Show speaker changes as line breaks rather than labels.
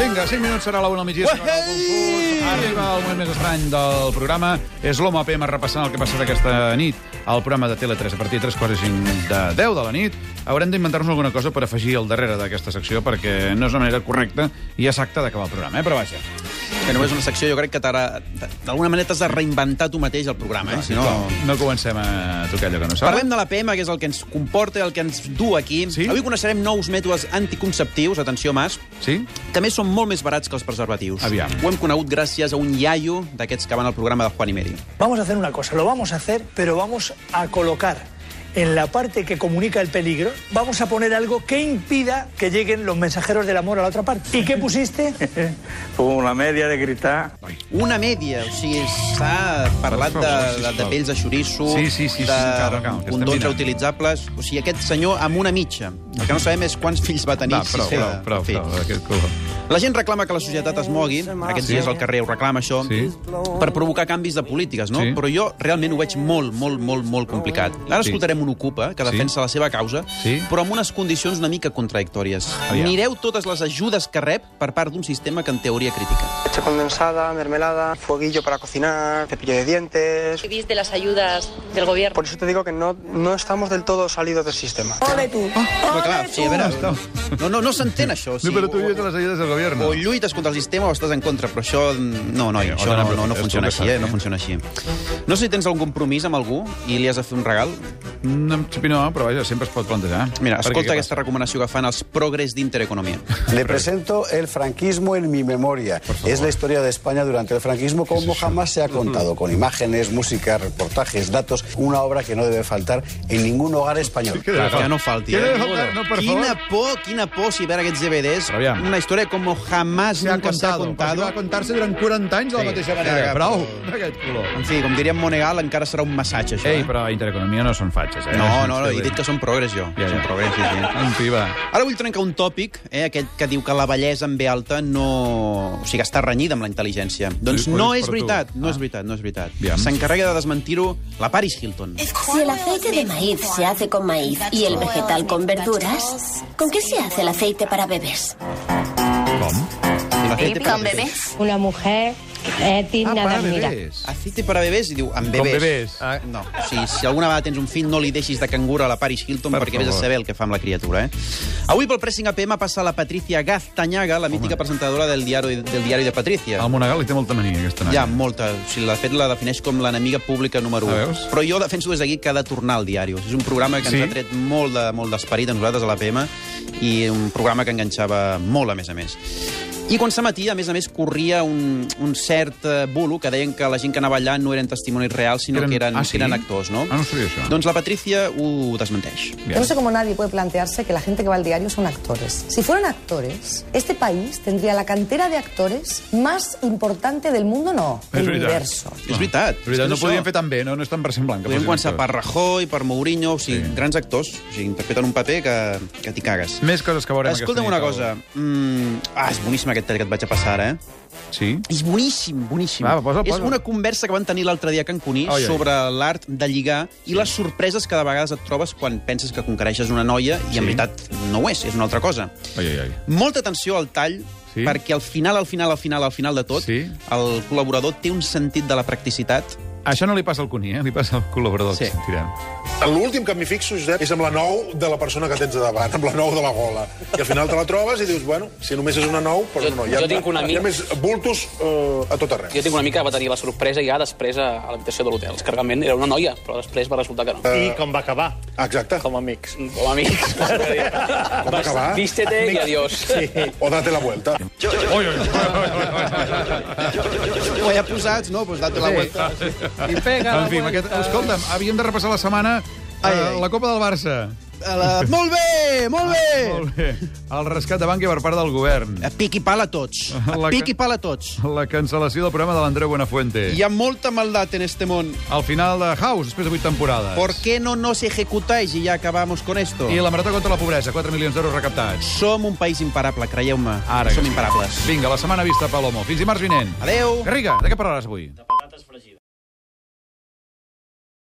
Vinga, 5 minuts serà la una al migdia. serà el concurs. Arriba el moment més estrany del programa. És l'home PM repassant el que ha passat aquesta nit al programa de Tele3 a partir de 3 quarts i 5 de 10 de la nit. Haurem d'inventar-nos alguna cosa per afegir al darrere d'aquesta secció perquè no és una manera correcta i exacta d'acabar el programa, eh? però vaja.
Que només una secció, jo crec que t'agra- d'alguna manera t'has de reinventar tu mateix el programa, eh? Si no...
No comencem a tocar allò que no sabem.
Parlem de la PM, que és el que ens comporta, el que ens du aquí.
Sí?
Avui coneixerem nous mètodes anticonceptius, atenció, Mas,
Sí?
també són molt més barats que els preservatius.
Aviam.
Ho hem conegut gràcies a un iaio d'aquests que van al programa de Juan i Medio.
Vamos a hacer una cosa, lo vamos a hacer, pero vamos a colocar en la parte que comunica el peligro, vamos a poner algo que impida que lleguen los mensajeros del amor a la otra parte. ¿Y qué pusiste?
Con la Pues media de gritar.
Una media, o sigui, s'ha parlat
Per
de,
favor,
de, de
sisplau.
pells de xoriço,
Sí, sí, sí, sí,
de
encara, encara, que estem
condons
mirant.
reutilitzables... O sigui, aquest senyor amb una mitja. El que no sabem és quants fills va tenir.
Va, prou,
si
prou,
feia-
prou,
en fi.
prou, aquest color.
La gent reclama que la societat es mogui, aquests
Sí.
dies el carrer ho reclama, això,
Sí.
per provocar canvis de polítiques, no?
Sí.
Però jo realment ho veig molt, molt, molt, molt complicat. Ara
Sí.
escoltarem un Ocupa, que
Sí.
defensa la seva causa,
Sí.
però amb unes condicions una mica contradictòries.
Aviam.
Mireu totes les ajudes que rep per part d'un sistema que en teoria critica.
Leche condensada, mermelada, fueguillo para cocinar, cepillo de dientes.
vivís de las ayudas del gobierno.
Por eso te digo que no, no estamos del todo salidos del sistema.
Ah, pues
Però clar, sí, a veure, no, no, no s'entén això. O,
No,
sigui,
però tu vius a les ajudes del govern.
o, o lluites contra el sistema o estàs en contra, però això... No, noi,
Eh, o
això
dona
no, no, no
protestes,
funciona així, eh?
eh?
No funciona així. No sé si tens algun compromís amb algú i li has de fer un regal.
No, en principi no, però vaja, sempre es pot plantejar.
Mira,
Perquè
escolta
què
aquesta recomanació que fan els progres d'Intereconomia.
Le presento el franquismo en mi memoria. Es la historia de España durante el franquismo como jamás se ha contado, con imágenes, música, reportajes, datos, una obra que no debe faltar en ningún hogar español.
Que deja-
Que no falti,
que
eh?
deja faltar, no, per
quina
favor.
por, quina por si veure aquests DVDs.
Però aviam.
Una història com jamás
se ha
nunca se ha
contado.
contado.
Va contar-se durant 40 anys de la
Sí,
mateixa
vinga,
manera. Prou,
però-
d'aquest color.
En fi, com diria en Monegal, encara serà un massatge, això.
Ei,
eh?
però a Intereconomia no són fatxes, eh?
No, no, no, he dit que són progres, jo.
Ja, ja.
Són progres, sí, sí.
En fi, va.
Ara vull trencar un tòpic, eh, aquest que diu que la bellesa en ve alta no... O sigui, que està renyida amb la intel·ligència. Doncs
Ho- ho
no
dius
és
per tu. Ah.
veritat, no és veritat, no és veritat.
Aviam.
S'encarrega de desmentir-ho la Paris Hilton.
Si el aceite de maíz se hace con maíz y el vegetal con verduras, ¿con qué se hace el aceite para bebés?
Com?
Aceite para bebés.
Una mujer es
Ah,
digna de
para
admirar.
bebès.
Aceite para bebès, i diu, amb bebès.
bebès.
Ah, no, o sigui, si alguna vegada tens un fill, no li deixis de cangura a la Paris Hilton,
Per
per perquè vés a
favor.
saber el que fa amb la criatura, eh? Avui pel Pressing APM passa la Patricia Gaztañaga, la mítica presentadora del diari, del diari de Patricia.
El Monegal li té molta mania, aquesta noia.
Ja, molta. O sigui, de fet, la defineix com l'enemiga pública número 1.
Ah, veus?
Però jo defenso des d'aquí que ha de tornar al diari. És un programa que ens
Sí?
ha tret molt de- molt d'esperit de, a nosaltres, a la PM, i un programa que enganxava molt, a més a més. I quan s'emetia, a més a més, corria un, un cert eh, bulo que deien que la gent que anava allà no eren testimonis reals, sinó
Eren-
eren... que eren,
Ah,
ah,
sí?
sí? eren actors, no?
Ah, no sabia això.
Doncs la Patricia ho desmenteix.
Bien.
No sé cómo nadie puede plantearse que la gente que va al diario son actores. Si fueran actores, este país tendría la cantera de actores más importante del mundo, no,
És
del
veritat.
universo.
És veritat.
De veritat, no
És que
podien
això-
fer tan bé, no, no és tan versemblant. que
Podem
fossin
començar per
actors.
Rajoy, per Mourinho, o sigui,
Sí.
sí. grans actors. O sigui, interpreten un paper que, que t'hi cagues.
Més coses que veurem
Escolta'm
aquesta
una
nit,
cosa. Mm, ah, és boníssim aquest tall que et vaig a passar ara, eh?
Sí?
És boníssim, boníssim.
Va, posa,
és
posa.
una conversa que van tenir l'altre dia a Cancuní
Ai, ai.
sobre l'art de lligar i les sorpreses que de vegades et trobes quan penses que conquereixes una noia i
Sí.
en veritat no ho és, és una altra cosa.
Ai, ai, ai.
Molta atenció al tall,
Sí.
sí. perquè al final, al final, al final, al final de tot,
Sí.
el col·laborador té un sentit de la practicitat
Això no li passa al Cuní, eh? Li passa al col·laborador
Sí.
que sentirem.
L'últim que m'hi fixo, Josep, és amb la nou de la persona que tens de davant, amb la nou de la gola. I al final te la trobes i dius, bueno, si només és una nou, però
Jo-
no.
jo tinc un amic-
Hi ha més bultos eh, a tot arreu.
Jo tinc una mica que va tenir la sorpresa ja després a, a l'habitació de l'hotel. Que realment era una noia, però després va resultar que no.
Eh,
I com va acabar,
Exacte.
com a amics.
Com a amics.
Com acabar?
Vístete i adiós. Sí.
O date la vuelta.
Oi, oi, oi, oi, oi.
Ho ja posats, no?
Doncs
Pues date la vuelta.
I pega
En fi, amb aquest... Escolta'm, havíem de repassar la setmana
Ai,
eh,
ai.
la Copa del Barça.
A La... Molt bé, molt bé!
Ah, Molt bé. El rescat de banca per part del govern.
A pic i pal a tots.
La
A
ca-
pic i pal a tots.
La cancel·lació del programa de l'Andreu Buenafuente.
Hi ha molta maldat en este món.
Al final de House, després de 8 temporades.
¿Por qué no nos ejecutáis y ya acabamos con esto?
I la Marató contra la Pobresa, 4 milions d'euros recaptats.
Som un país imparable, creieu-me.
Ara que
Som
sí.
imparables.
Vinga, la setmana vista, Palomo. Fins dimarts vinent.
Adeu.
Garriga, de què parlaràs avui?